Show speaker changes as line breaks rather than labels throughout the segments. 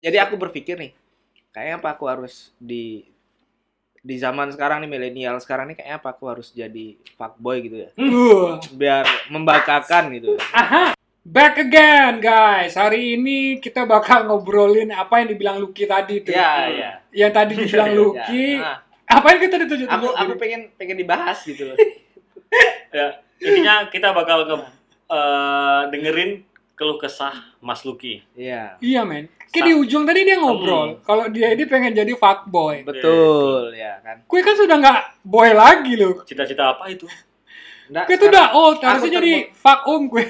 Jadi aku berpikir nih, kayaknya apa aku harus di di zaman sekarang nih milenial sekarang nih kayaknya apa aku harus jadi fuckboy gitu ya.
Wuh.
Biar membakakan gitu. ya.
Uh, Back again guys. Hari ini kita bakal ngobrolin apa yang dibilang Lucky tadi tuh.
Ya, ya.
Yang tadi dibilang Lucky.
Nah,
Apa yang kita ditunjuk?
aku aku pengen pengen dibahas gitu loh.
Ya, intinya kita bakal nge eh, dengerin keluh kesah Mas Lucky.
Iya.
Iya men. Kayak di ujung tadi dia
Hmm.
ngobrol. Kalau dia ini pengen jadi fuckboy.
Betul ya kan.
Gue kan sudah nggak boy lagi loh.
Cita-cita apa itu?
Nggak,
Gue tuh
sekarang
udah old. Harusnya
aku
jadi fuck om gue.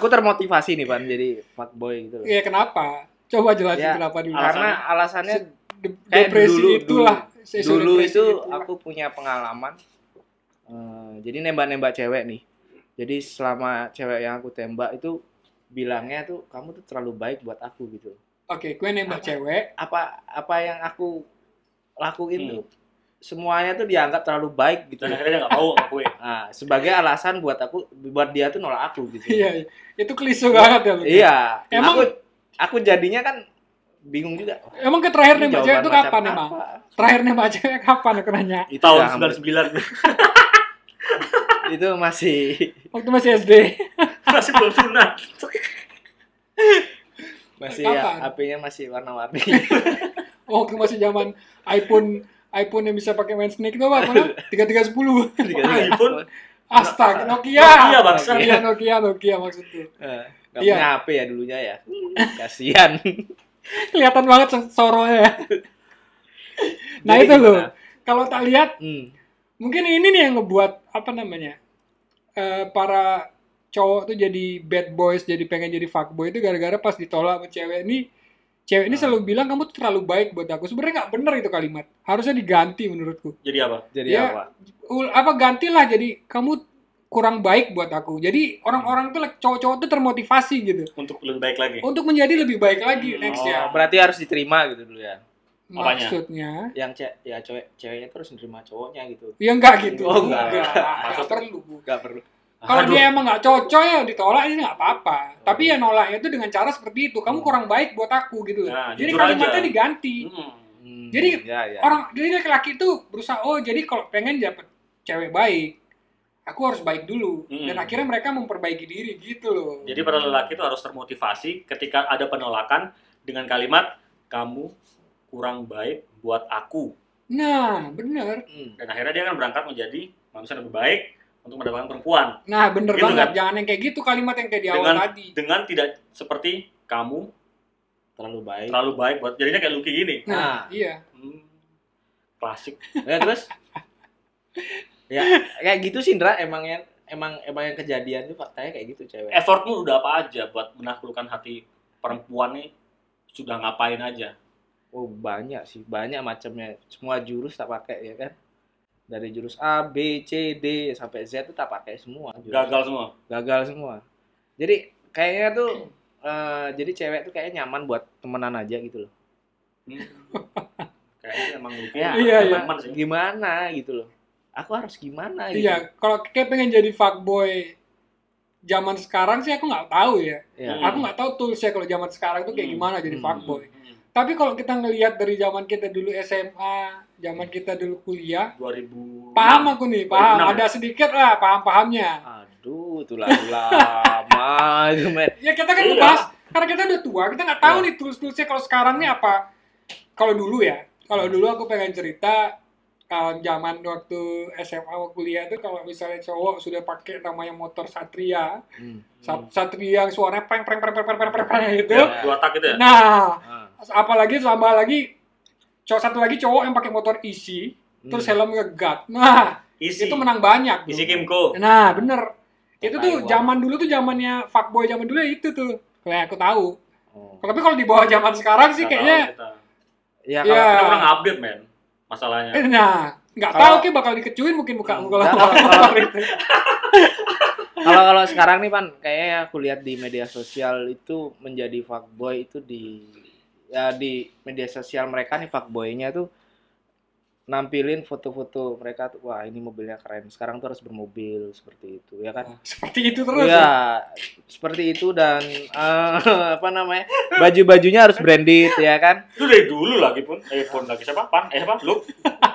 aku termotivasi nih Pan jadi fuckboy gitu loh.
Iya kenapa? Coba jelasin
Ya,
kenapa dulu.
alasan-
Karena alasannya
De-
kayak
depresi
dulu-
itulah. Sesi
dulu
depresi
itu
itulah.
aku punya pengalaman eh, jadi nembak-nembak cewek nih jadi selama cewek yang aku tembak itu bilangnya tuh kamu tuh terlalu baik buat aku gitu
Oke, gue nembak
Apa?
cewek.
apa apa yang aku lakuin
Hmm.
tuh semuanya tuh dianggap terlalu baik gitu
Iya.
Dan akhirnya dia nggak mau sama gue.
Nah, sebagai alasan buat aku buat dia tuh nolak aku gitu
Iya, iya. itu klise banget ya. Lu.
iya
Emang-
aku aku jadinya kan bingung juga Wah,
Emang ke terakhir
ini
nembak cewek
jawaban
itu
macam
kapan emang?
apa?
Terakhir nembak cewek kapan aku nanya?
Itu
Tahun
udah hampir-
99
itu masih
Waktu masih SD.
masih belum sunat.
masih
Kapan?
ya, apinya masih warna-warni.
Oh, Waktu masih zaman iPhone iPhone yang bisa pakai main snake itu apa? Tiga tiga sepuluh.
Tiga-tiga.
iPhone?
Nah,
Astaga,
Iya
Nokia.
bangsa.
Iya Nokia, Nokia maksudku.
Eh, Gak
Iya.
punya HP ya dulunya ya. Kasihan.
Kelihatan banget se- soronya. ya. Nah
Jadi
itu
gimana?
loh. Kalau tak lihat,
Hmm.
mungkin ini nih yang ngebuat apa namanya eh, para cowok tuh jadi bad boys, jadi pengen jadi fuckboy itu gara-gara pas ditolak sama cewek ini. Cewek ini
Ah.
selalu bilang kamu tuh terlalu baik buat aku. Sebenarnya nggak bener itu kalimat. Harusnya diganti menurutku.
Jadi apa?
Jadi
Iya.
apa?
Ul- apa gantilah jadi kamu kurang baik buat aku. Jadi orang-orang tuh like, cowok-cowok tuh termotivasi gitu
Untuk lebih baik lagi.
untuk menjadi lebih baik lagi
Hmm,
next
oh.
ya.
Berarti harus diterima gitu dulu ya.
apanya?
Maksudnya
Yang ce ya cewek ceweknya terus nerima cowoknya gitu.
ya enggak gitu.
Oh, enggak.
Enggak, enggak
Maksud-
perlu.
Gak perlu.
Kalau
Aduh. Oh.
dia emang nggak cocok ya ditolak ini nggak apa-apa. Tapi ya nolaknya itu dengan cara seperti itu. Kamu kurang baik buat aku gitu loh.
Hmm. Nah,
jadi
jujur
kalimatnya
aja.
diganti.
Hmm.
Hmm,
Jadi,
ya, ya.
Orang jadi laki-laki itu berusaha oh jadi kalau pengen dapet cewek baik, aku harus baik dulu.
Hmm.
Dan akhirnya mereka memperbaiki diri gitu loh.
Jadi para lelaki itu harus termotivasi ketika ada penolakan dengan kalimat kamu kurang baik buat aku.
Nah bener,
Hmm.
Dan akhirnya dia akan berangkat menjadi manusia yang lebih baik untuk mendapatkan perempuan.
nah bener
Gitu
banget.
kan?
Jangan yang kayak gitu kalimat yang kayak di awal
Dengan
tadi.
dengan tidak seperti kamu
Terlalu baik.
terlalu baik buat jadinya kayak Lucky gini.
Nah,
Nah.
iya.
Hmm, klasik.
Ya, terus ya kayak gitu sih Indra emangnya emang emang yang kejadian tuh faktanya kayak gitu cewek.
Effortmu udah apa aja buat menaklukkan hati perempuan nih sudah ngapain aja.
Oh banyak sih, banyak macamnya. Semua jurus tak pakai ya kan. Dari jurus A, B, C, D sampai Z itu tak pakai semua. jurus.
Gagal semua.
gagal semua. Jadi kayaknya tuh eh, jadi cewek tuh kayaknya nyaman buat temenan aja gitu loh.
Hmm. Kayaknya emang Lucky
Ya,
Iya, iya.
teman sih.
Gimana gitu loh. Aku harus gimana gitu.
Iya, kalau kayak pengen jadi fuckboy zaman sekarang sih aku nggak tahu ya.
Iya.
Hmm.
Aku nggak tahu toolsnya kalau zaman sekarang tuh kayak
Hmm.
gimana jadi
Hmm.
fuckboy.
Hmm.
Tapi kalau kita ngelihat dari zaman kita dulu SMA, zaman kita dulu kuliah,
2000
paham aku nih, paham.
Enam.
Ada sedikit lah paham-pahamnya.
Aduh, tuh lah tuh lama itu men.
Ya kita kan
Iya.
ngebahas, karena kita udah tua, kita nggak tahu
Iya.
nih tools-toolsnya kalau sekarang nih apa. Kalau dulu ya, kalau dulu aku pengen cerita um, zaman waktu SMA atau kuliah tuh kalau misalnya cowok sudah pakai namanya motor Satria,
Hmm.
Sat- Satria yang suaranya preng preng preng preng preng preng preng, preng gitu.
Ya.
dua tak gitu ya.
Nah,
Ah.
apalagi tambah lagi cowok satu lagi cowok yang pakai motor isi terus
Hmm. E
helm ngegat nah
Isi
itu menang banyak tuh.
Isi Kimco.
nah bener itu tuh
Taiwan.
zaman dulu tuh zamannya fuckboy zaman dulu ya itu tuh kayak aku tahu
Oh.
tapi kalau di bawah zaman sekarang sih
Nggak
kayaknya
tahu kita.
Ya
Iya.
kalau
Kita kurang update, men. Masalahnya.
eh, nah nggak tahu
Kalau-
kayak bakal dikecuin mungkin muka
Hmm,
muka
nggak, kalau- kalau- kalau kalau sekarang nih Pan, kayaknya ya aku lihat di media sosial itu menjadi fuckboy itu di ya di media sosial mereka nih fuckboynya tuh nampilin foto-foto mereka tuh wah ini mobilnya keren sekarang tuh harus bermobil seperti itu ya kan
Seperti itu terus.
ya seperti itu dan eh, apa namanya baju-bajunya harus branded ya kan
Itu dari dulu lagi pun. Eh pun lagi siapa? Pan? Eh apa? Lu?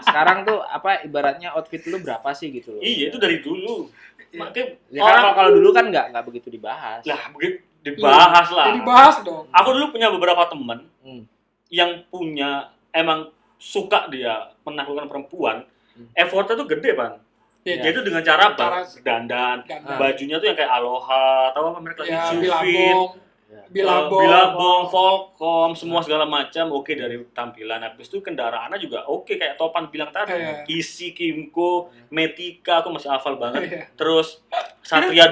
sekarang tuh apa ibaratnya outfit lu berapa sih gitu loh
Iya itu dari dulu.
Iya.
Makanya
ya, kan,
orang
kalau- kalau dulu kan nggak nggak begitu dibahas
lah begitu dibahas lah.
Iya. Jadi bahas dong.
Aku dulu punya beberapa temen
Hmm.
yang punya emang suka dia menaklukkan perempuan.
Hmm.
Effortnya tuh gede pan.
Iya.
Dia tuh dengan cara,
Cara-
cara berdandan,
Dan
Ah.
bajunya tuh yang kayak aloha, tahu apa mereka lagi
ya
sufit,
bilabong,
Ya.
bilabong, Nah.
eh, bilabong, volcom, semua segala macam oke dari tampilan. Habis itu kendaraannya juga oke kayak Topan bilang tadi,
Iya.
Isi Kimco, Metika aku masih hafal banget.
Iya.
Terus Satria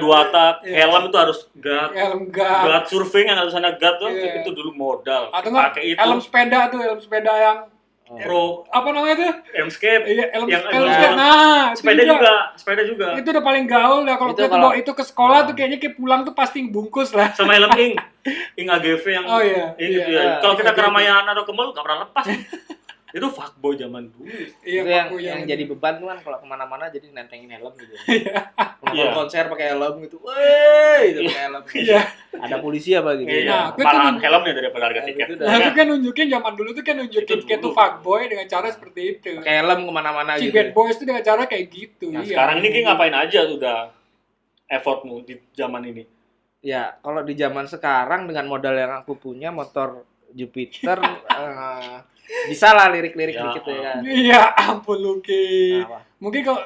Duata,
Iya.
helm itu harus guard,
helm gas,
guard surfing yang tulisannya guard tuh
Iya.
itu dulu modal.
atau enggak
Pakai itu
helm sepeda tuh, helm sepeda yang
Oh.
pro
apa namanya tuh?
helm skate,
Iya, helm,
Yang
helm
ada-
sepeda. Nah, itu
sepeda juga, sepeda juga.
Itu udah paling gaul ya kalau
Itu
kita tuh
kalau-
bawa itu ke sekolah tuh kayaknya kayak pulang tuh pasti bungkus lah.
Sama helm ing, ing AGV yang
Oh iya.
Iya, gitu
Iya.
ya. Kalau kita ke
Iya.
Ramayana atau ke mall nggak pernah lepas. itu fuckboy zaman dulu.
Iya,
itu yang,
aku
yang jadi beban tuh kan kalau kemana-mana jadi nentengin helm gitu. Nonton
Iya.
konser pakai helm gitu, woi, gitu pakai helm.
Iya.
Ada polisi apa gitu?
Nah,
Iya,
gue tuh
malahan
dulu-
helmnya daripada harga
Nah,
tiket.
itu dah.
Nah, itu
Iya.
kan nunjukin zaman dulu tuh kan nunjukin
Itu
kayak tuh
dulu.
fuckboy dengan cara seperti itu.
Pakai helm kemana-mana gitu.
Cibet boys tuh dengan cara kayak gitu.
Nah,
iya.
sekarang ini kayak ngapain aja sudah effortmu di zaman ini.
Ya, kalau di zaman sekarang dengan modal yang aku punya motor Jupiter eh, bisa lah lirik-lirik
Ya.
dikit ya kan.
Iya, ampun Luki.
Apa?
Mungkin kalau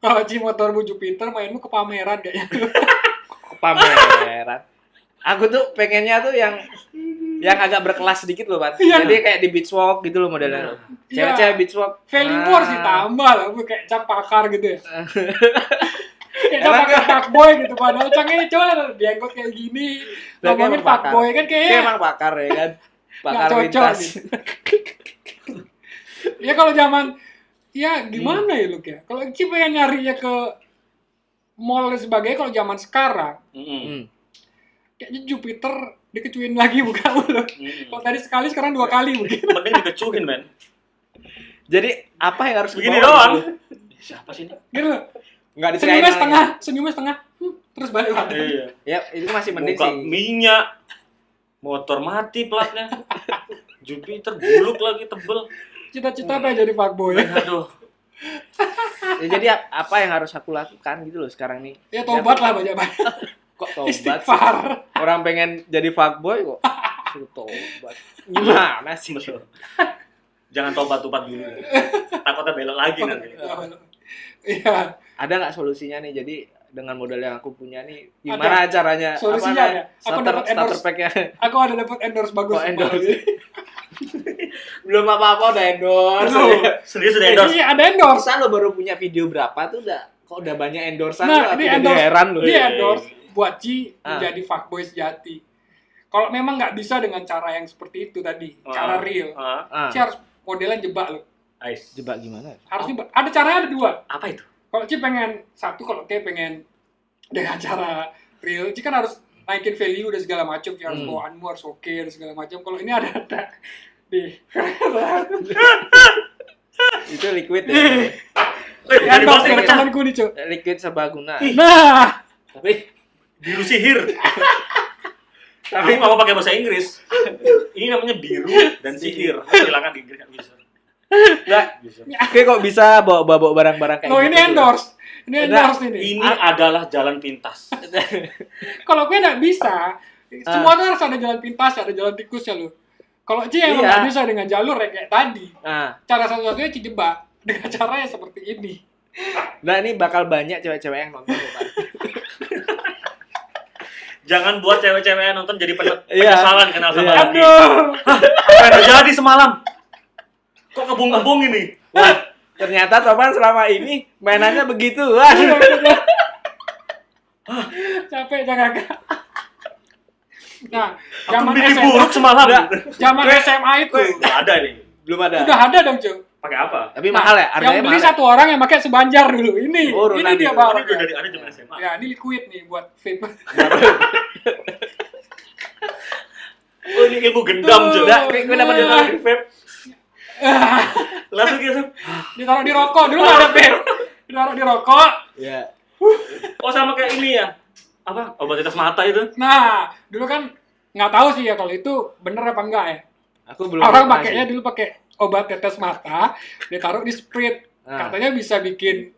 kalau Cimotormu Jupiter mainmu ke pameran Iya. kayaknya.
Pameran. Aku tuh pengennya tuh yang yang agak berkelas dikit loh, Pak.
Iya.
Jadi kayak di beach walk gitu loh modelnya. Cewek-cewek beach walk.
Value
Ah.
war sih tambah lah, Bu. kayak cap pakar gitu ya. kayak cap
Enak
pakar fuckboy gitu padahal cangnya coba diangkut kayak gini.
Lah, kayak
Ngomongin
emang pakar.
fuckboy kan
Dia
kayaknya
emang pakar ya kan. Pakar
cocok
lintas.
gitu. ya kalau zaman ya
Hmm.
gimana ya Luke ya kalau Ci pengen nyarinya ke mall dan sebagainya kalau zaman sekarang
Mm-mm.
Hmm.
kayaknya Jupiter dikecuin lagi bukan lu
Mm-mm.
kalau tadi sekali sekarang dua kali mungkin
Mending dikecuhin, men.
Jadi apa yang harus
Begini
dibawa
doang.
gitu?
Siapa sih ini?
gitu loh.
Nggak diserahin
senyumnya
lagi.
setengah senyumnya setengah Hmm, terus balik lagi
Iya.
Ya itu masih mending
Muka
sih.
minyak. Motor mati platnya. Jupiter buluk lagi tebel.
cita-cita pengen jadi fuckboy
Aduh.
Ya, jadi ap- apa yang harus aku lakukan gitu loh sekarang nih?
ya tobat lah banyak banyak
Kok tobat sih?
istighfar
Orang pengen jadi fuckboy kok. Suruh tobat. Gimana sih?
Betul. Jangan tobat-tobat dulu. Takutnya belok lagi nanti.
Iya,
Ada nggak solusinya nih? Jadi dengan modal yang aku punya nih, gimana caranya?
Solusinya
namanya?
ada. Aku
Starter,
dapat
starter
endorse.
pack-nya.
aku ada dapat endorse bagus.
Oh, endorse. Belum apa-apa udah endorse.
Belum.
Serius udah endorse.
Iya, ada endorse.
Masa lo baru punya video berapa tuh udah kok udah banyak endorsan
Nah,
lo aku
ini
jadi
endorse.
heran lo.
Dia Iya, endorse buat Ci
Iya. Ah.
menjadi fuckboy sejati. Kalau memang nggak bisa dengan cara yang seperti itu tadi, cara real,
Ah,
Ah, Ah.
Ci harus modelan jebak loh.
Ais.
jebak gimana?
Harus jebak. Ada caranya ada dua.
Apa itu?
Kalau Ci pengen satu, kalau Ki pengen dengan cara real, Ci kan harus naikin value dan segala macam, ya harus
Hmm.
bawaanmu harus oke dan segala macam. Kalau ini ada ada di
Itu liquid ya.
Eh,
ya,
dari
endorse
balik
dari
pecah.
temanku nih, Cuk.
liquid sebaguna.
Nah,
Tapi
Biru sihir. Tapi nggak mau pakai bahasa Inggris. Ini namanya biru dan sihir. Silakan di Inggris nggak bisa.
nggak
Bisa.
Oke kok bisa bawa-bawa barang-barang kayak
lo ini
gitu?
endorse. Ini
Nah,
endorse ini.
Ini adalah jalan pintas.
kalau gue nggak
Ah.
bisa semua tuh harus ada jalan pintas ada jalan tikusnya lo kalau Ci yang
Iya.
nggak bisa dengan jalur yang kayak tadi
Nah,
cara satu-satunya Ci jebak dengan cara yang seperti ini
nah ini bakal banyak cewek-cewek yang nonton loh, Pak.
Jangan buat cewek-cewek yang nonton jadi pen-
Iya.
penyesalan kenal sama
Iya.
laki.
aduh
Apa yang terjadi semalam? Kok kebung-kebung ini?
Wah, ternyata Topan selama ini mainannya begitu. Wah.
Iya, capek jangan nah
Aku
zaman
mimpi
SMA
buruk semalam.
Nggak.
zaman SMA itu
Nggak ada ini.
Belum ada.
udah ada dong cuy
Pakai apa?
Tapi mahal ya, harganya
yang beli
mahal.
satu orang yang pakai sebanjar dulu ini
Oh,
ini
Ronan
dia
itu.
Ini
baru
udah dari ada zaman SMA.
ya ini liquid nih buat vape
Oh, ini ilmu gendam
Tuh.
juga.
Nggak, gue- gue dapat dari vape.
langsung gitu
ditaruh di rokok dulu nggak ada bed ditaruh di rokok
ya
oh sama kayak ini ya apa obat tetes mata itu
nah dulu kan nggak tahu sih ya kalau itu bener apa enggak ya
aku belum
orang
pernah
pakainya
sih.
dulu pakai obat tetes mata ditaruh di sprit
Nah,
katanya bisa bikin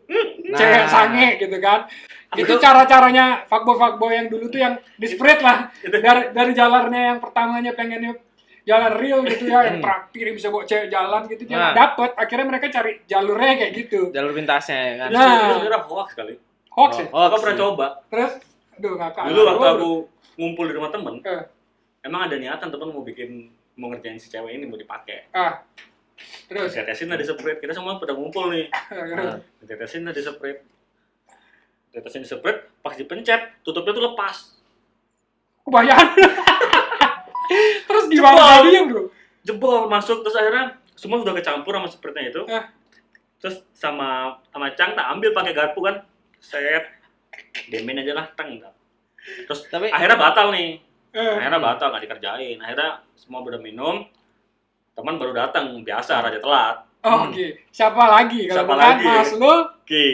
nah,
cewek sange gitu kan itu
Itu-
cara caranya fuckboy fuckboy yang dulu tuh yang di sprit lah dari dari jalannya yang pertamanya pengennya jalan real gitu ya
Hmm.
yang traktir bisa bawa cewek jalan gitu
Nah.
dia nggak dapet akhirnya mereka cari jalurnya kayak gitu
jalur pintasnya ya kan
Nah.
itu sebenarnya hoax kali
hoax ya
Oh,
aku pernah coba
terus aduh ngakak
dulu waktu aku ngumpul di rumah temen
Nah, Eh.
emang ada niatan temen mau bikin mau ngerjain si cewek ini mau dipakai
ah terus
Terus tetesin lah di spray kita semua pada ngumpul nih
Nah, Ah.
terus.
tetesin lah di spray tetesin di spray pas dipencet tutupnya tuh lepas
kebayang terus gimana
Jebol.
tadi bro
jebol masuk terus akhirnya semua sudah kecampur sama spritnya itu
Ah.
terus sama sama cang tak ambil pakai garpu kan set demen aja lah teng tak. terus
Tapi-
akhirnya batal nih
Eh,
akhirnya batal nggak dikerjain akhirnya semua udah minum teman baru datang biasa raja telat
Hmm.
oh, oke siapa lagi kalau
Siapa
bukan
lagi?
mas lu
Ki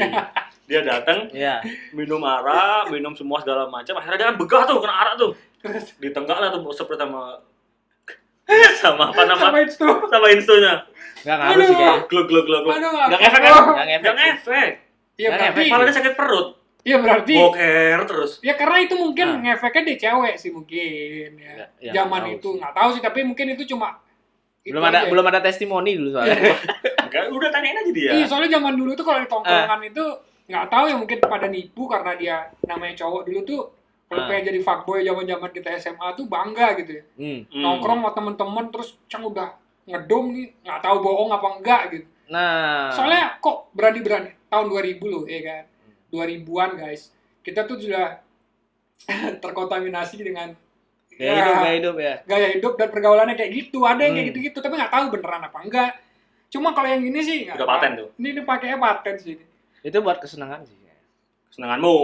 dia datang
ya
minum arak minum semua segala macam akhirnya dia kan begah tuh kena arak tuh ditenggak lah tuh seperti sama sama apa nama
sama itu
sama instonya
nggak ngaruh sih kayaknya
glug glug glug glug.
Aduh,
nggak
ngakak.
efek kan
nggak ngefek
nggak ngefek
Oh, Iya
Kan
berarti,
efek
malah dia sakit perut
iya berarti,
boker terus
ya karena itu mungkin
Nah.
ngefeknya di cewek sih mungkin ya.
Nggak- ya,
Zaman
nggak
itu
tahu sih.
nggak Iya. tahu sih, tapi mungkin itu cuma itu
belum ada
aja.
belum ada testimoni dulu soalnya
Enggak, udah tanyain aja dia
Iya, soalnya zaman dulu tuh kalau di tongkrongan
Eh.
itu nggak tahu ya mungkin pada nipu karena dia namanya cowok dulu tuh kalau
Ah.
pengen jadi fuckboy zaman-zaman kita SMA tuh bangga gitu ya.
Hmm.
Hmm.
Nongkrong sama temen-temen terus cang udah ngedom nih, nggak tahu bohong apa enggak gitu.
nah
Ah.
Soalnya kok berani-berani tahun 2000 loh, ya kan?
Hmm.
2000-an guys. Kita tuh sudah terkontaminasi dengan
gaya hidup gaya hidup ya
gaya hidup dan pergaulannya kayak gitu. Ada yang kayak
Hmm.
gitu-gitu, tapi nggak tahu beneran apa enggak. Cuma kalau yang ini sih nggak
udah
tahu.
paten tuh
Ini ini pakainya paten sih.
itu buat kesenangan sih
senenganmu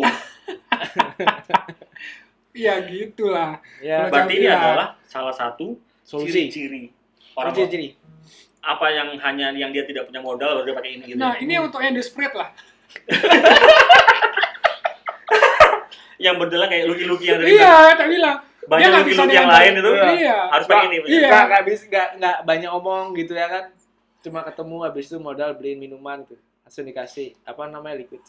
Iya gitulah.
ya
Kalau-
berarti ini
Campiran.
adalah salah satu
solusi
ciri-ciri orang
solusi ciri
apa yang hanya yang dia tidak punya modal baru dia pakai ini gitu
Nah,
ya.
ini untuk yang di spread lah.
yang berdelah kayak luki-luki yang dari
Iya, tak bilang.
banyak
nggak bisa
luki-luki yang
dengan-
lain itu
Iya.
harus pakai ini
Iya.
nggak nggak bisa nggak nggak banyak omong gitu ya kan cuma ketemu habis itu modal beliin minuman tuh langsung dikasih apa namanya liquid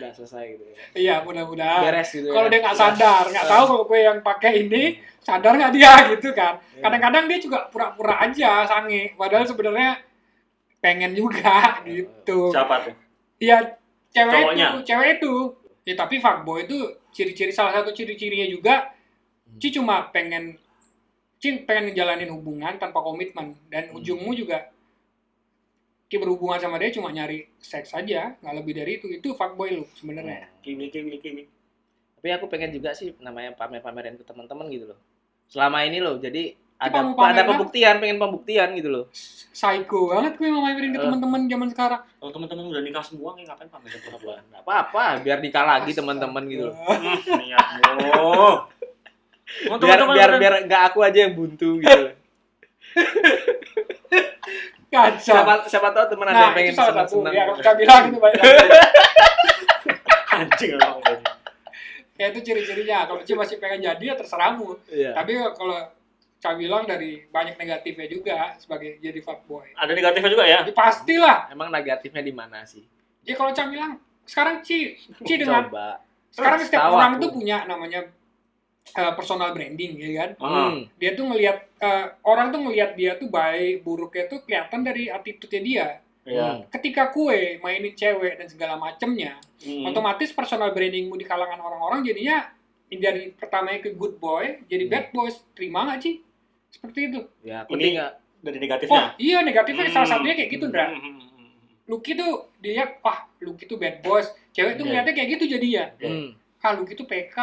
udah selesai gitu ya
Iya, mudah-mudahan.
beres gitu ya
Kalau
kan.
dia nggak sadar, nggak
Eh.
tahu kalau gue yang pakai ini sadar nggak dia gitu kan.
Iya.
Kadang-kadang dia juga pura-pura aja sange, padahal sebenarnya pengen juga gitu.
siapa tuh
Iya, cewek
Cowoknya.
itu, cewek itu. Ya tapi fuckboy itu ciri-ciri salah satu ciri-cirinya juga Ci cuma pengen Ci pengen ngejalanin hubungan tanpa komitmen dan
Hmm.
ujungmu juga Ki berhubungan sama dia cuma nyari seks aja, nggak lebih dari itu. Itu fuckboy lu
Oh. Iya.
sebenarnya.
kimi kimi kimi
tapi aku pengen juga sih namanya pamer-pamerin ke teman-teman gitu loh selama ini loh jadi ada
mau pamer
ada
apa?
pembuktian pengen pembuktian gitu loh
Psycho banget gue mau mainin ke
Eh.
teman-teman zaman sekarang.
kalau teman-teman udah nikah semua kayak ngapain pamer perempuan
nggak apa-apa biar nikah lagi teman-teman gitu loh
Eh,
hmm, niatmu Mau
biar
teman-teman
biar
ada-
biar nggak aku aja yang buntu gitu loh.
Kacau.
siapa siapa tahu teman ada
Nah,
yang
itu
pengen
salah satu.
senang-senang gitu.
Ya, kita bilang itu banyak lagi.
anjing orang
Ya, itu ciri-cirinya. Kalau Ci masih pengen jadi, ya terserahmu.
Iya.
Tapi kalau saya bilang dari banyak negatifnya juga sebagai jadi fuckboy.
ada negatifnya juga ya
Ya pastilah.
emang negatifnya di mana sih
Ya kalau saya bilang sekarang Ci, Ci dengan
coba
sekarang setiap
Tahu
orang
aku.
itu punya namanya eh, personal branding ya kan.
Ah,
Hmm.
Dia tuh ngelihat eh, orang tuh ngelihat dia tuh baik, buruknya tuh kelihatan dari attitude-nya dia. Hmm.
iya.
Hmm.
Ketika kue mainin cewek dan segala macemnya,
Hmm.
otomatis personal brandingmu di kalangan orang-orang jadinya dari pertamanya ke good boy, jadi
Hmm.
bad boy. Terima nggak Ci? Seperti itu.
ya aku
Ini-
tinggal
dari
Oh
negatifnya
iya negatifnya salah
Hmm.
satunya kayak gitu Ndra. Lucky tuh dilihat wah Lucky tuh bad boys. Cewek tuh
Iya.
ngeliatnya kayak gitu jadi ya.
Oke.
Hmm.
Ah Lucky tuh PK,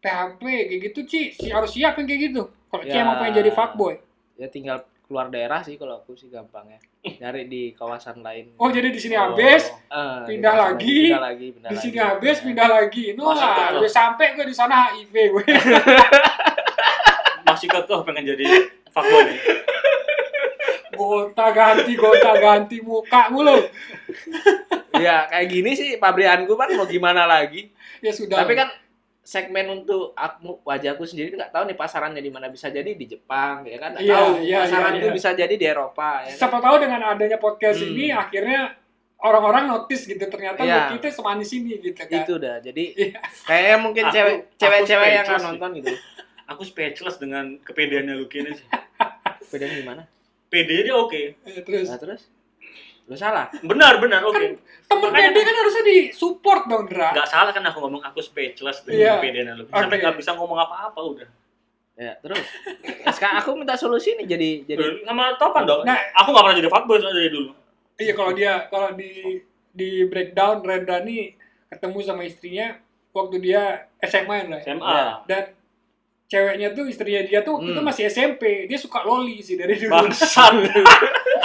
PHP kayak gitu Ci. Si harus siap yang kayak gitu. Kalau Ci
Ya.
emang pengen jadi fuckboy.
ya tinggal keluar daerah sih kalau aku sih gampangnya nyari di kawasan lain
Oh jadi di sini habis,
Eh, di
pindah
kawasan
lagi,
lain, pindah lagi pindah
di sini
lagi.
habis,
Ya.
pindah lagi. No
Masa
lah,
itu?
udah sampai gue di sana HIV gue.
Oh, masih kekeh pengen jadi fuckboy nih.
gonta ganti gonta ganti muka mulu
ya kayak gini sih pabrianku kan mau gimana lagi
ya sudah
tapi kan segmen untuk aku wajahku sendiri nggak tahu nih pasarannya di mana bisa jadi di Jepang ya kan nggak
Iya,
tahu
iya,
pasaran
iya,
tuh
iya.
bisa jadi di Eropa ya kan?
siapa tahu dengan adanya podcast
Hmm.
ini akhirnya orang-orang notice gitu ternyata
Iya.
Lucky itu semanis ini gitu kan
itu dah jadi
Iya.
kayaknya mungkin
Aku-
cewek
aku
cewek-cewek yang
speechless sih.
nonton gitu
Aku speechless dengan kepedeannya Lucky ini sih.
bedanya gimana
Pede dia oke.
Eh, terus
nah, terus lu salah
Benar, benar, oke.
temen
makanya-
pede kan harusnya di support dong Dra
Nggak salah kan aku ngomong aku speechless dengan
Iya.
kepedeannya Lucky. Sampai
Oke.
nggak bisa ngomong apa-apa udah.
ya terus sekarang aku minta solusi nih jadi jadi
Eh, Sama Topan dong.
Nah.
aku nggak pernah jadi fuckboy soalnya dari dulu.
iya kalau dia kalau di di breakdown Rendra nih ketemu sama istrinya waktu dia SMA ya Dra, ya?
SMA.
Iya.
dan ceweknya tuh istrinya dia tuh waktu itu
Hmm.
masih SMP dia suka loli sih dari dulu
Bangsat.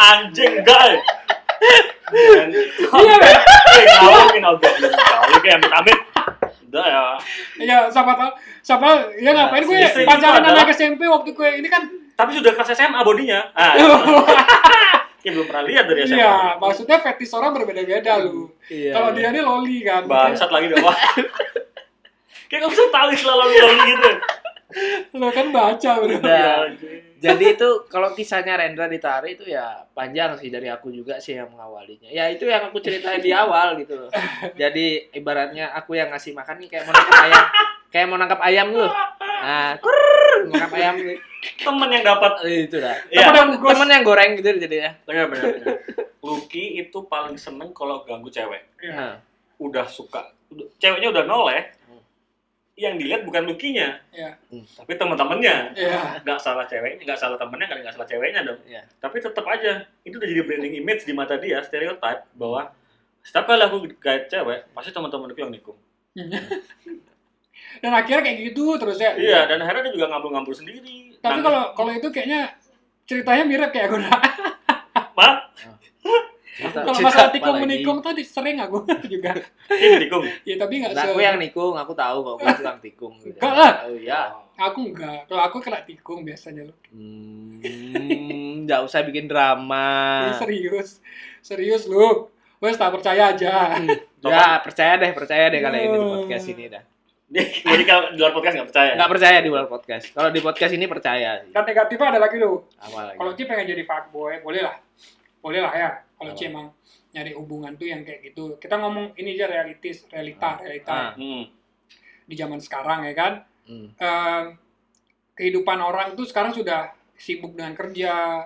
Anjing guys. Eh,
iya kan?
Ngawangin album kali kayak ya, amit-amit. Udah ya.
Iya, siapa tahu. Siapa ya
Nah,
ngapain gue
si- si
pacaran
itu
sama
adalah-
anak SMP waktu gue ini kan
Tapi sudah kelas SMA bodinya. Ah, ya belum pernah lihat dari SMA.
iya, maksudnya fetish orang berbeda-beda lu.
Iya,
Kalau
iya.
dia ini loli kan.
Bangsat lagi dong. Kayak gak bisa tahu istilah loli-loli gitu.
Lu kan baca bro.
Udah.
Ya, anjing.
jadi itu kalau kisahnya Rendra ditarik itu ya panjang sih dari aku juga sih yang mengawalinya. Ya itu yang aku ceritain di awal gitu loh. Jadi ibaratnya aku yang ngasih makan nih kayak mau nangkap ayam, kayak mau nangkap ayam loh. Nah, kurr, nangkap ayam gitu.
Temen yang dapat
Eh, itu dah.
Iya.
Temen, temen yang goreng gitu jadi ya.
benar benar benar. Lucky itu paling seneng kalau ganggu cewek.
Nah,
Udah suka. Udah- Ceweknya udah noleh.
Hmm.
Yang dilihat bukan Lucky-nya,
Iya.
tapi teman-temannya.
Iya.
Nggak salah ceweknya, nggak salah temennya, nggak nggak salah ceweknya dong.
Iya.
Tapi tetap aja, itu udah jadi branding image di mata dia, stereotype bahwa setiap kali aku gaya cewek, pasti teman-temanku yang nikung.
Iya. Dan akhirnya kayak gitu terus ya.
Iya, dan akhirnya dia juga ngambul-ngambul sendiri.
Tapi
Nangis.
kalau kalau itu kayaknya ceritanya mirip kayak gue.
Ma,
cerita-
Kalau
cerita
masalah
apa
tikung
lagi?
menikung tadi sering aku juga.
dia nikung.
Iya, tapi enggak
Nah, aku yang nikung, aku tahu kok aku tukang tikung. Gitu.
Enggak lah.
Oh iya.
Aku enggak. Kalau aku kena tikung biasanya lu.
Hmm, nggak usah bikin drama.
Ini serius. Serius lu. Wes tak percaya aja.
Ya, percaya deh, percaya deh kali ini di podcast ini dah.
Dia jadi kalau di luar podcast nggak percaya.
Nggak percaya di luar podcast. Kalau di podcast ini percaya. sih.
Dan Kan negatifnya ada lagi lu.
Apa lagi?
Kalau Ci pengen jadi fuckboy, boleh lah. Boleh lah ya. Kalau Ci
Apa?
emang nyari hubungan tuh yang kayak gitu. Kita ngomong ini aja realitis, realita, realita
Ah.
Hmm.
di zaman sekarang ya kan.
Hmm.
Em, kehidupan orang tuh sekarang sudah sibuk dengan kerja.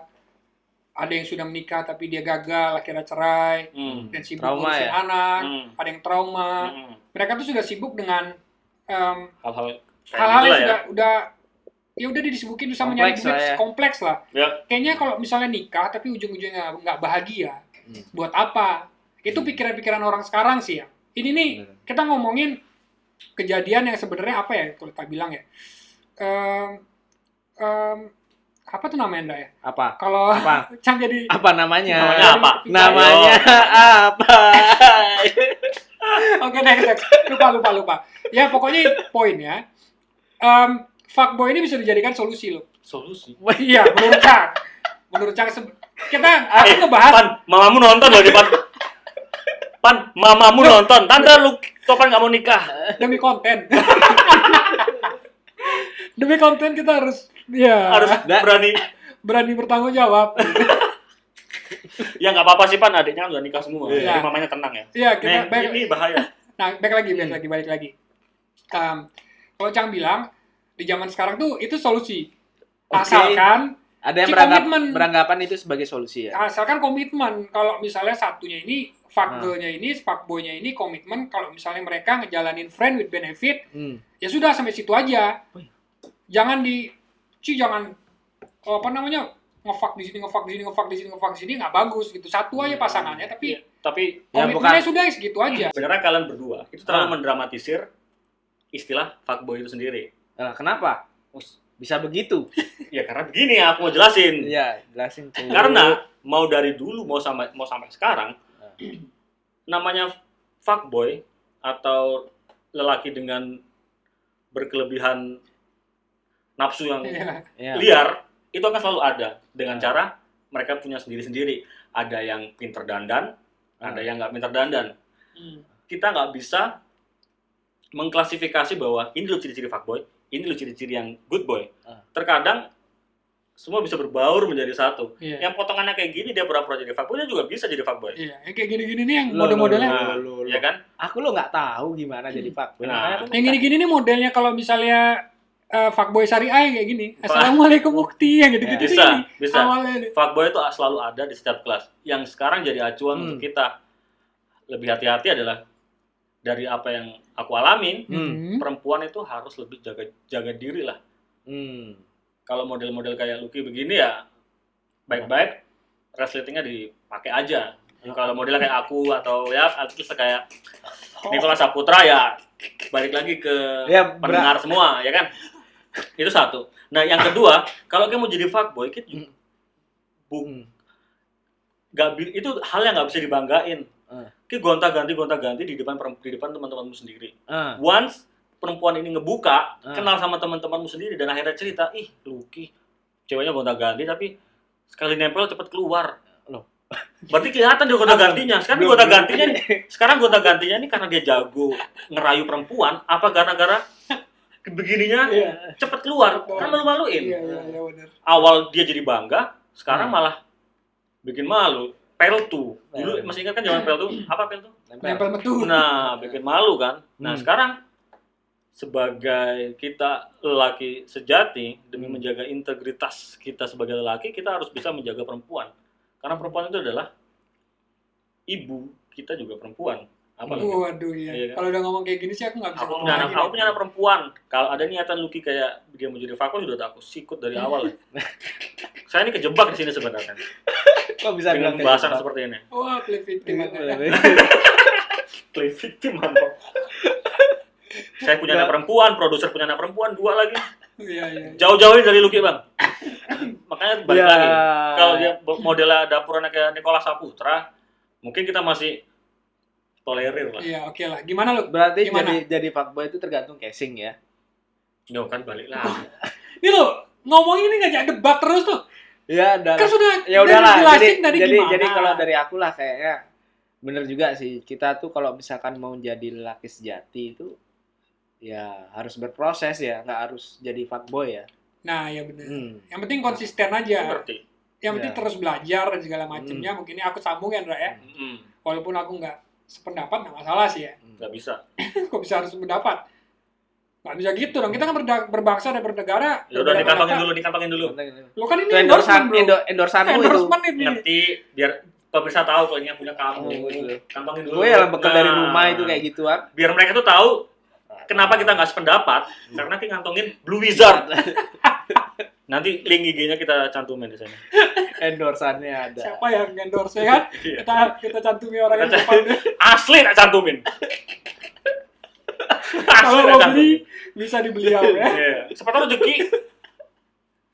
Ada yang sudah menikah tapi dia gagal, akhirnya cerai.
Hmm.
Dan sibuk
Trauma
ngurusin
ya?
anak.
Hmm.
Ada yang trauma.
Hmm.
Mereka tuh sudah sibuk dengan em,
hal-hal kayak
hal-hal yang
gitulah
sudah udah ya udah disibukin tuh sama
ya.
nyari
Kompleks
duit
lah ya.
kompleks lah.
Ya.
Kayaknya kalau misalnya nikah tapi ujung-ujungnya nggak bahagia,
Hmm.
buat apa? Itu pikiran-pikiran orang sekarang sih ya. Ini nih
Bener.
kita ngomongin kejadian yang sebenarnya apa ya kalau kita bilang ya. Em, em, apa tuh namanya Nda, ya?
Apa?
Kalau
Apa?
Cang jadi
Apa namanya?
Iya.
Namanya apa?
Namanya apa?
Oke next, next. Lupa, lupa, lupa. Ya pokoknya poinnya, em, fuckboy ini bisa dijadikan solusi loh.
solusi.
Iya, menurut Cang. Menurut Cang, se- kita aku
Eh,
ngebahas
Pan, mamamu nonton loh di Pan. Pan, mamamu nonton. Tante lu topan nggak mau nikah.
demi konten. demi konten kita harus ya
Harus
Nggak.
berani.
berani bertanggung jawab.
Ya nggak apa-apa sih Pan, adiknya udah nikah semua.
Iya.
Jadi mamanya tenang ya.
Iya,
Nih,
kita back,
ini Hmm. bahaya.
nah, back lagi, back lagi, balik lagi. Em, kalau Cang bilang di zaman sekarang tuh itu solusi.
Oke.
Asalkan
Ada yang
Si
beranggap,
komitmen.
beranggapan itu sebagai solusi ya?
asalkan komitmen. Kalau misalnya satunya ini
Nah.
fuckgirlnya ini, fuckboynya ini komitmen kalau misalnya mereka ngejalanin friend with benefit
Hmm.
ya sudah sampai situ aja
Oh iya.
jangan di ci jangan oh, apa namanya ngefak di sini ngefak di sini ngefak di sini ngefak di sini nggak bagus gitu satu aja pasangannya
Iya.
tapi Oh, iya.
Tapi
Ya,
komitmennya
bukan.
sudah segitu aja
sebenarnya kalian berdua itu terlalu
Ah.
mendramatisir istilah fuckboy itu sendiri.
Lah, kenapa?
Us-
Bisa begitu?
Ya karena begini ya aku mau jelasin.
Iya, jelasin. tuh.
Karena mau dari dulu mau sampai mau sampai sekarang namanya fuckboy atau lelaki dengan berkelebihan nafsu yang
Iya.
ya.
liar itu akan selalu ada dengan
Ya.
cara mereka punya sendiri-sendiri. Ada yang pinter dandan,
Ah.
ada yang nggak pinter dandan.
Hmm.
Kita nggak bisa mengklasifikasi bahwa ini loh ciri-ciri fuckboy, ini loh ciri-ciri yang good boy.
Ah.
Terkadang semua bisa berbaur menjadi satu.
Iya.
Yang potongannya kayak gini dia pura-pura jadi fuckboy, dia juga bisa jadi fuckboy.
Iya, yang kayak gini-gini nih yang
Lo, lo,
model-modelnya.
lo, lo, lo.
Ya kan?
Aku lo nggak tahu gimana jadi fuckboy.
Nah.
Makanya aku
Yang gini-gini nih modelnya kalau misalnya eh, fuckboy syariah yang kayak gini.
Wah. Iya.
Assalamualaikum mukti yang
Iya.
gitu-gitu tuh
Bisa,
gini.
bisa.
Awalnya nih.
Fuckboy itu selalu ada di setiap kelas. Yang sekarang jadi acuan
Hmm.
untuk kita lebih hati-hati adalah dari apa yang aku alamin,
Hmm.
perempuan itu harus lebih jaga jaga diri lah.
Hmm.
Kalau model-model kayak Lucky begini ya baik-baik resletingnya dipakai aja. Kalau modelnya kayak aku atau ya artis kayak Nicola Saputra ya balik lagi ke
Ya,
pendengar semua ya kan. Itu satu. Nah, yang kedua, kalau kamu jadi fuckboy, kita juga Hmm.
bung.
nggak bi- itu hal yang nggak bisa dibanggain.
Eh.
Ki gonta ganti gonta ganti di depan perem- di depan teman-temanmu sendiri.
Ah,
Once perempuan ini ngebuka,
Eh.
kenal sama teman-temanmu sendiri dan akhirnya cerita, ih Lucky, ceweknya gonta ganti tapi sekali nempel cepet keluar.
Loh.
Berarti kelihatan dia gonta gantinya. Sekarang
Belum-
gonta
belum.
gantinya nih, sekarang gonta gantinya nih karena dia jago ngerayu perempuan, apa gara-gara begininya
Iya,
cepet keluar, kan malu-maluin
iya, iya, iya, bener.
awal dia jadi bangga, sekarang
Hmm.
malah bikin malu. Pel tuh. Dulu
Pel.
masih ingat kan zaman pel tuh? Apa pel tuh?
nempel.
Nempel metu.
Nah, bikin malu kan. Nah,
Hmm.
sekarang sebagai kita lelaki sejati demi
Hmm.
menjaga integritas kita sebagai lelaki, kita harus bisa menjaga perempuan. Karena perempuan itu adalah ibu, kita juga perempuan.
Hmm.
Apalagi
Waduh, iya.
Iya kan?
Kalau udah ngomong kayak gini sih aku nggak bisa
aku
ngomong
punya anak,
lagi.
aku punya anak perempuan. Kalau ada niatan Lucky kayak dia mau jadi vakum sudah aku sikut dari awal. Saya ini kejebak di sini sebenarnya
Kok bisa bilang kayak
dengan pembahasan
gitu?
seperti ini.
Wah, pelipitin.
Iya,
Play victim mantap. Saya punya anak perempuan, produser punya anak perempuan, dua lagi.
Iya, iya.
Jauh-jauh dari Lucky bang. Makanya balik
Ya.
lagi. Kalau dia bo- modelnya dapurannya kayak Nikola Saputra, mungkin kita masih tolerir lah.
Iya, oke lah. Gimana lu?
Berarti
Gimana?
jadi jadi fuckboy itu tergantung casing ya.
Yo kan balik lagi.
Ini lo ngomong ini ngajak debat terus tuh.
Ya, dan
Kan sudah
ya
udah
udahlah.
dijelasin
Jadi
tadi
jadi,
gimana.
jadi kalau dari aku lah kayaknya bener juga sih. Kita tuh kalau misalkan mau jadi lelaki sejati itu ya harus berproses ya, nggak harus jadi fuckboy ya.
Nah, ya bener.
Hmm.
Yang penting konsisten aja.
Iya.
Ngerti.
Yang penting
Ya.
terus belajar dan segala
Hmm.
macamnya. Mungkin ini aku sambung ya, Ndra ya.
Mm-mm.
Walaupun aku nggak sependapat, nggak masalah sih ya.
Hmm.
Nggak bisa.
Kok bisa harus sependapat? Nggak bisa gitu dong. Kita kan berda- berbangsa dan bernegara.
Ya udah
berbeda
dikantongin
pendapat.
dulu, dikantongin dulu.
Lo kan ini
Itu endorsan,
bro.
endo- endorsanmu itu.
Endorsement ini.
Ngerti biar pemirsa tahu kalau ini yang punya
Iya,
kamu.
Iya. Oh, gitu.
Kantongin dulu.
Gue ya bekal dari
Nah,
rumah itu kayak gitu, gituan.
biar mereka tuh tahu kenapa kita nggak sependapat karena kita ngantongin Blue Wizard. Nanti link IG-nya kita cantumin di sana.
Endorsannya ada.
Siapa yang endorse ya kan?
Iya.
Kita kita cantumi orangnya di
Kita
depan.
Asli tak cantumin. Asli
Kalau
tak
mau
cantumin.
beli bisa dibeli ya.
Iya. Siapa tahu rezeki.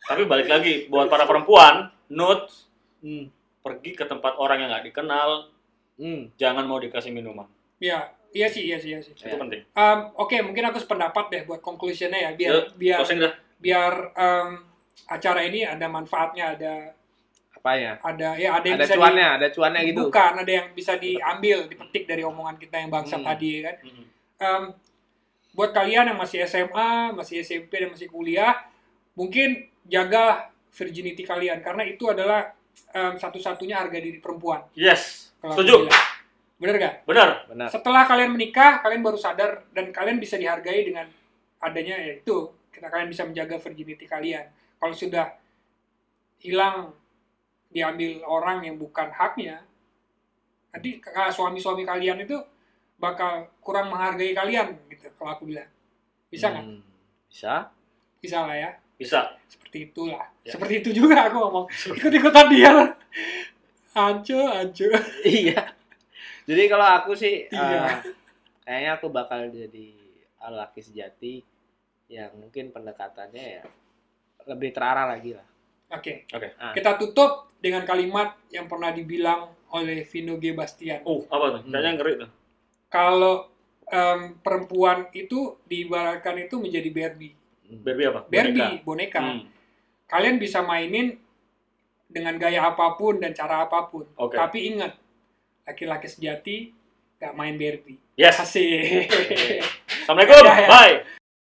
Tapi balik lagi buat para perempuan, note
Hmm.
pergi ke tempat orang yang nggak dikenal,
Hmm.
jangan mau dikasih minuman.
Iya, iya sih, iya sih, iya sih.
Itu
Iya.
penting.
Um, Oke, mungkin aku sependapat deh buat conclusionnya ya, biar
Yuk,
biar
Closing dah.
biar um, acara ini ada manfaatnya, ada
Apa ya?
ada ya ada yang
Ada
bisa
cuannya, ada cuannya
di,
gitu.
bukan, ada yang bisa diambil, dipetik dari omongan kita yang bangsa
Hmm.
tadi ya kan.
Mm-mm.
Em, buat kalian yang masih SMA, masih SMP dan masih kuliah, mungkin jaga virginity kalian karena itu adalah em, satu-satunya harga diri perempuan.
Yes.
kalau aku
Setuju.
bilang. Bener gak?
Benar.
Benar.
Setelah kalian menikah, kalian baru sadar dan kalian bisa dihargai dengan adanya ya itu. Kita kalian bisa menjaga virginity kalian. Kalau sudah hilang diambil orang yang bukan haknya, nanti k- k- suami-suami kalian itu bakal kurang menghargai kalian gitu kalau aku bilang. Bisa nggak?
Hmm. Bisa.
Bisa lah ya.
Bisa.
Seperti itulah.
Ya.
Seperti itu juga aku ngomong. Ikut-ikutan dia lah. Ancu, ancu.
iya. Jadi kalau aku sih eh,
Iya.
kayaknya aku bakal jadi laki sejati yang mungkin pendekatannya ya lebih terarah lagi lah.
Oke.
Oke.
Ah.
Kita tutup dengan kalimat yang pernah dibilang oleh Vino G. Bastian.
Uh, apa tuh?
Mm.
Hmm.
Kayaknya ngeri tuh.
Kalau em, perempuan itu diibaratkan itu menjadi Barbie.
Hmm.
Barbie apa? Mm,
Barbie,
Boneka.
boneka.
Hmm.
Kalian bisa mainin dengan gaya apapun dan cara apapun.
Oke.
Tapi ingat, laki-laki sejati gak main Barbie.
Yes.
Kasih.
Assalamualaikum.
Ya, ya.
Bye.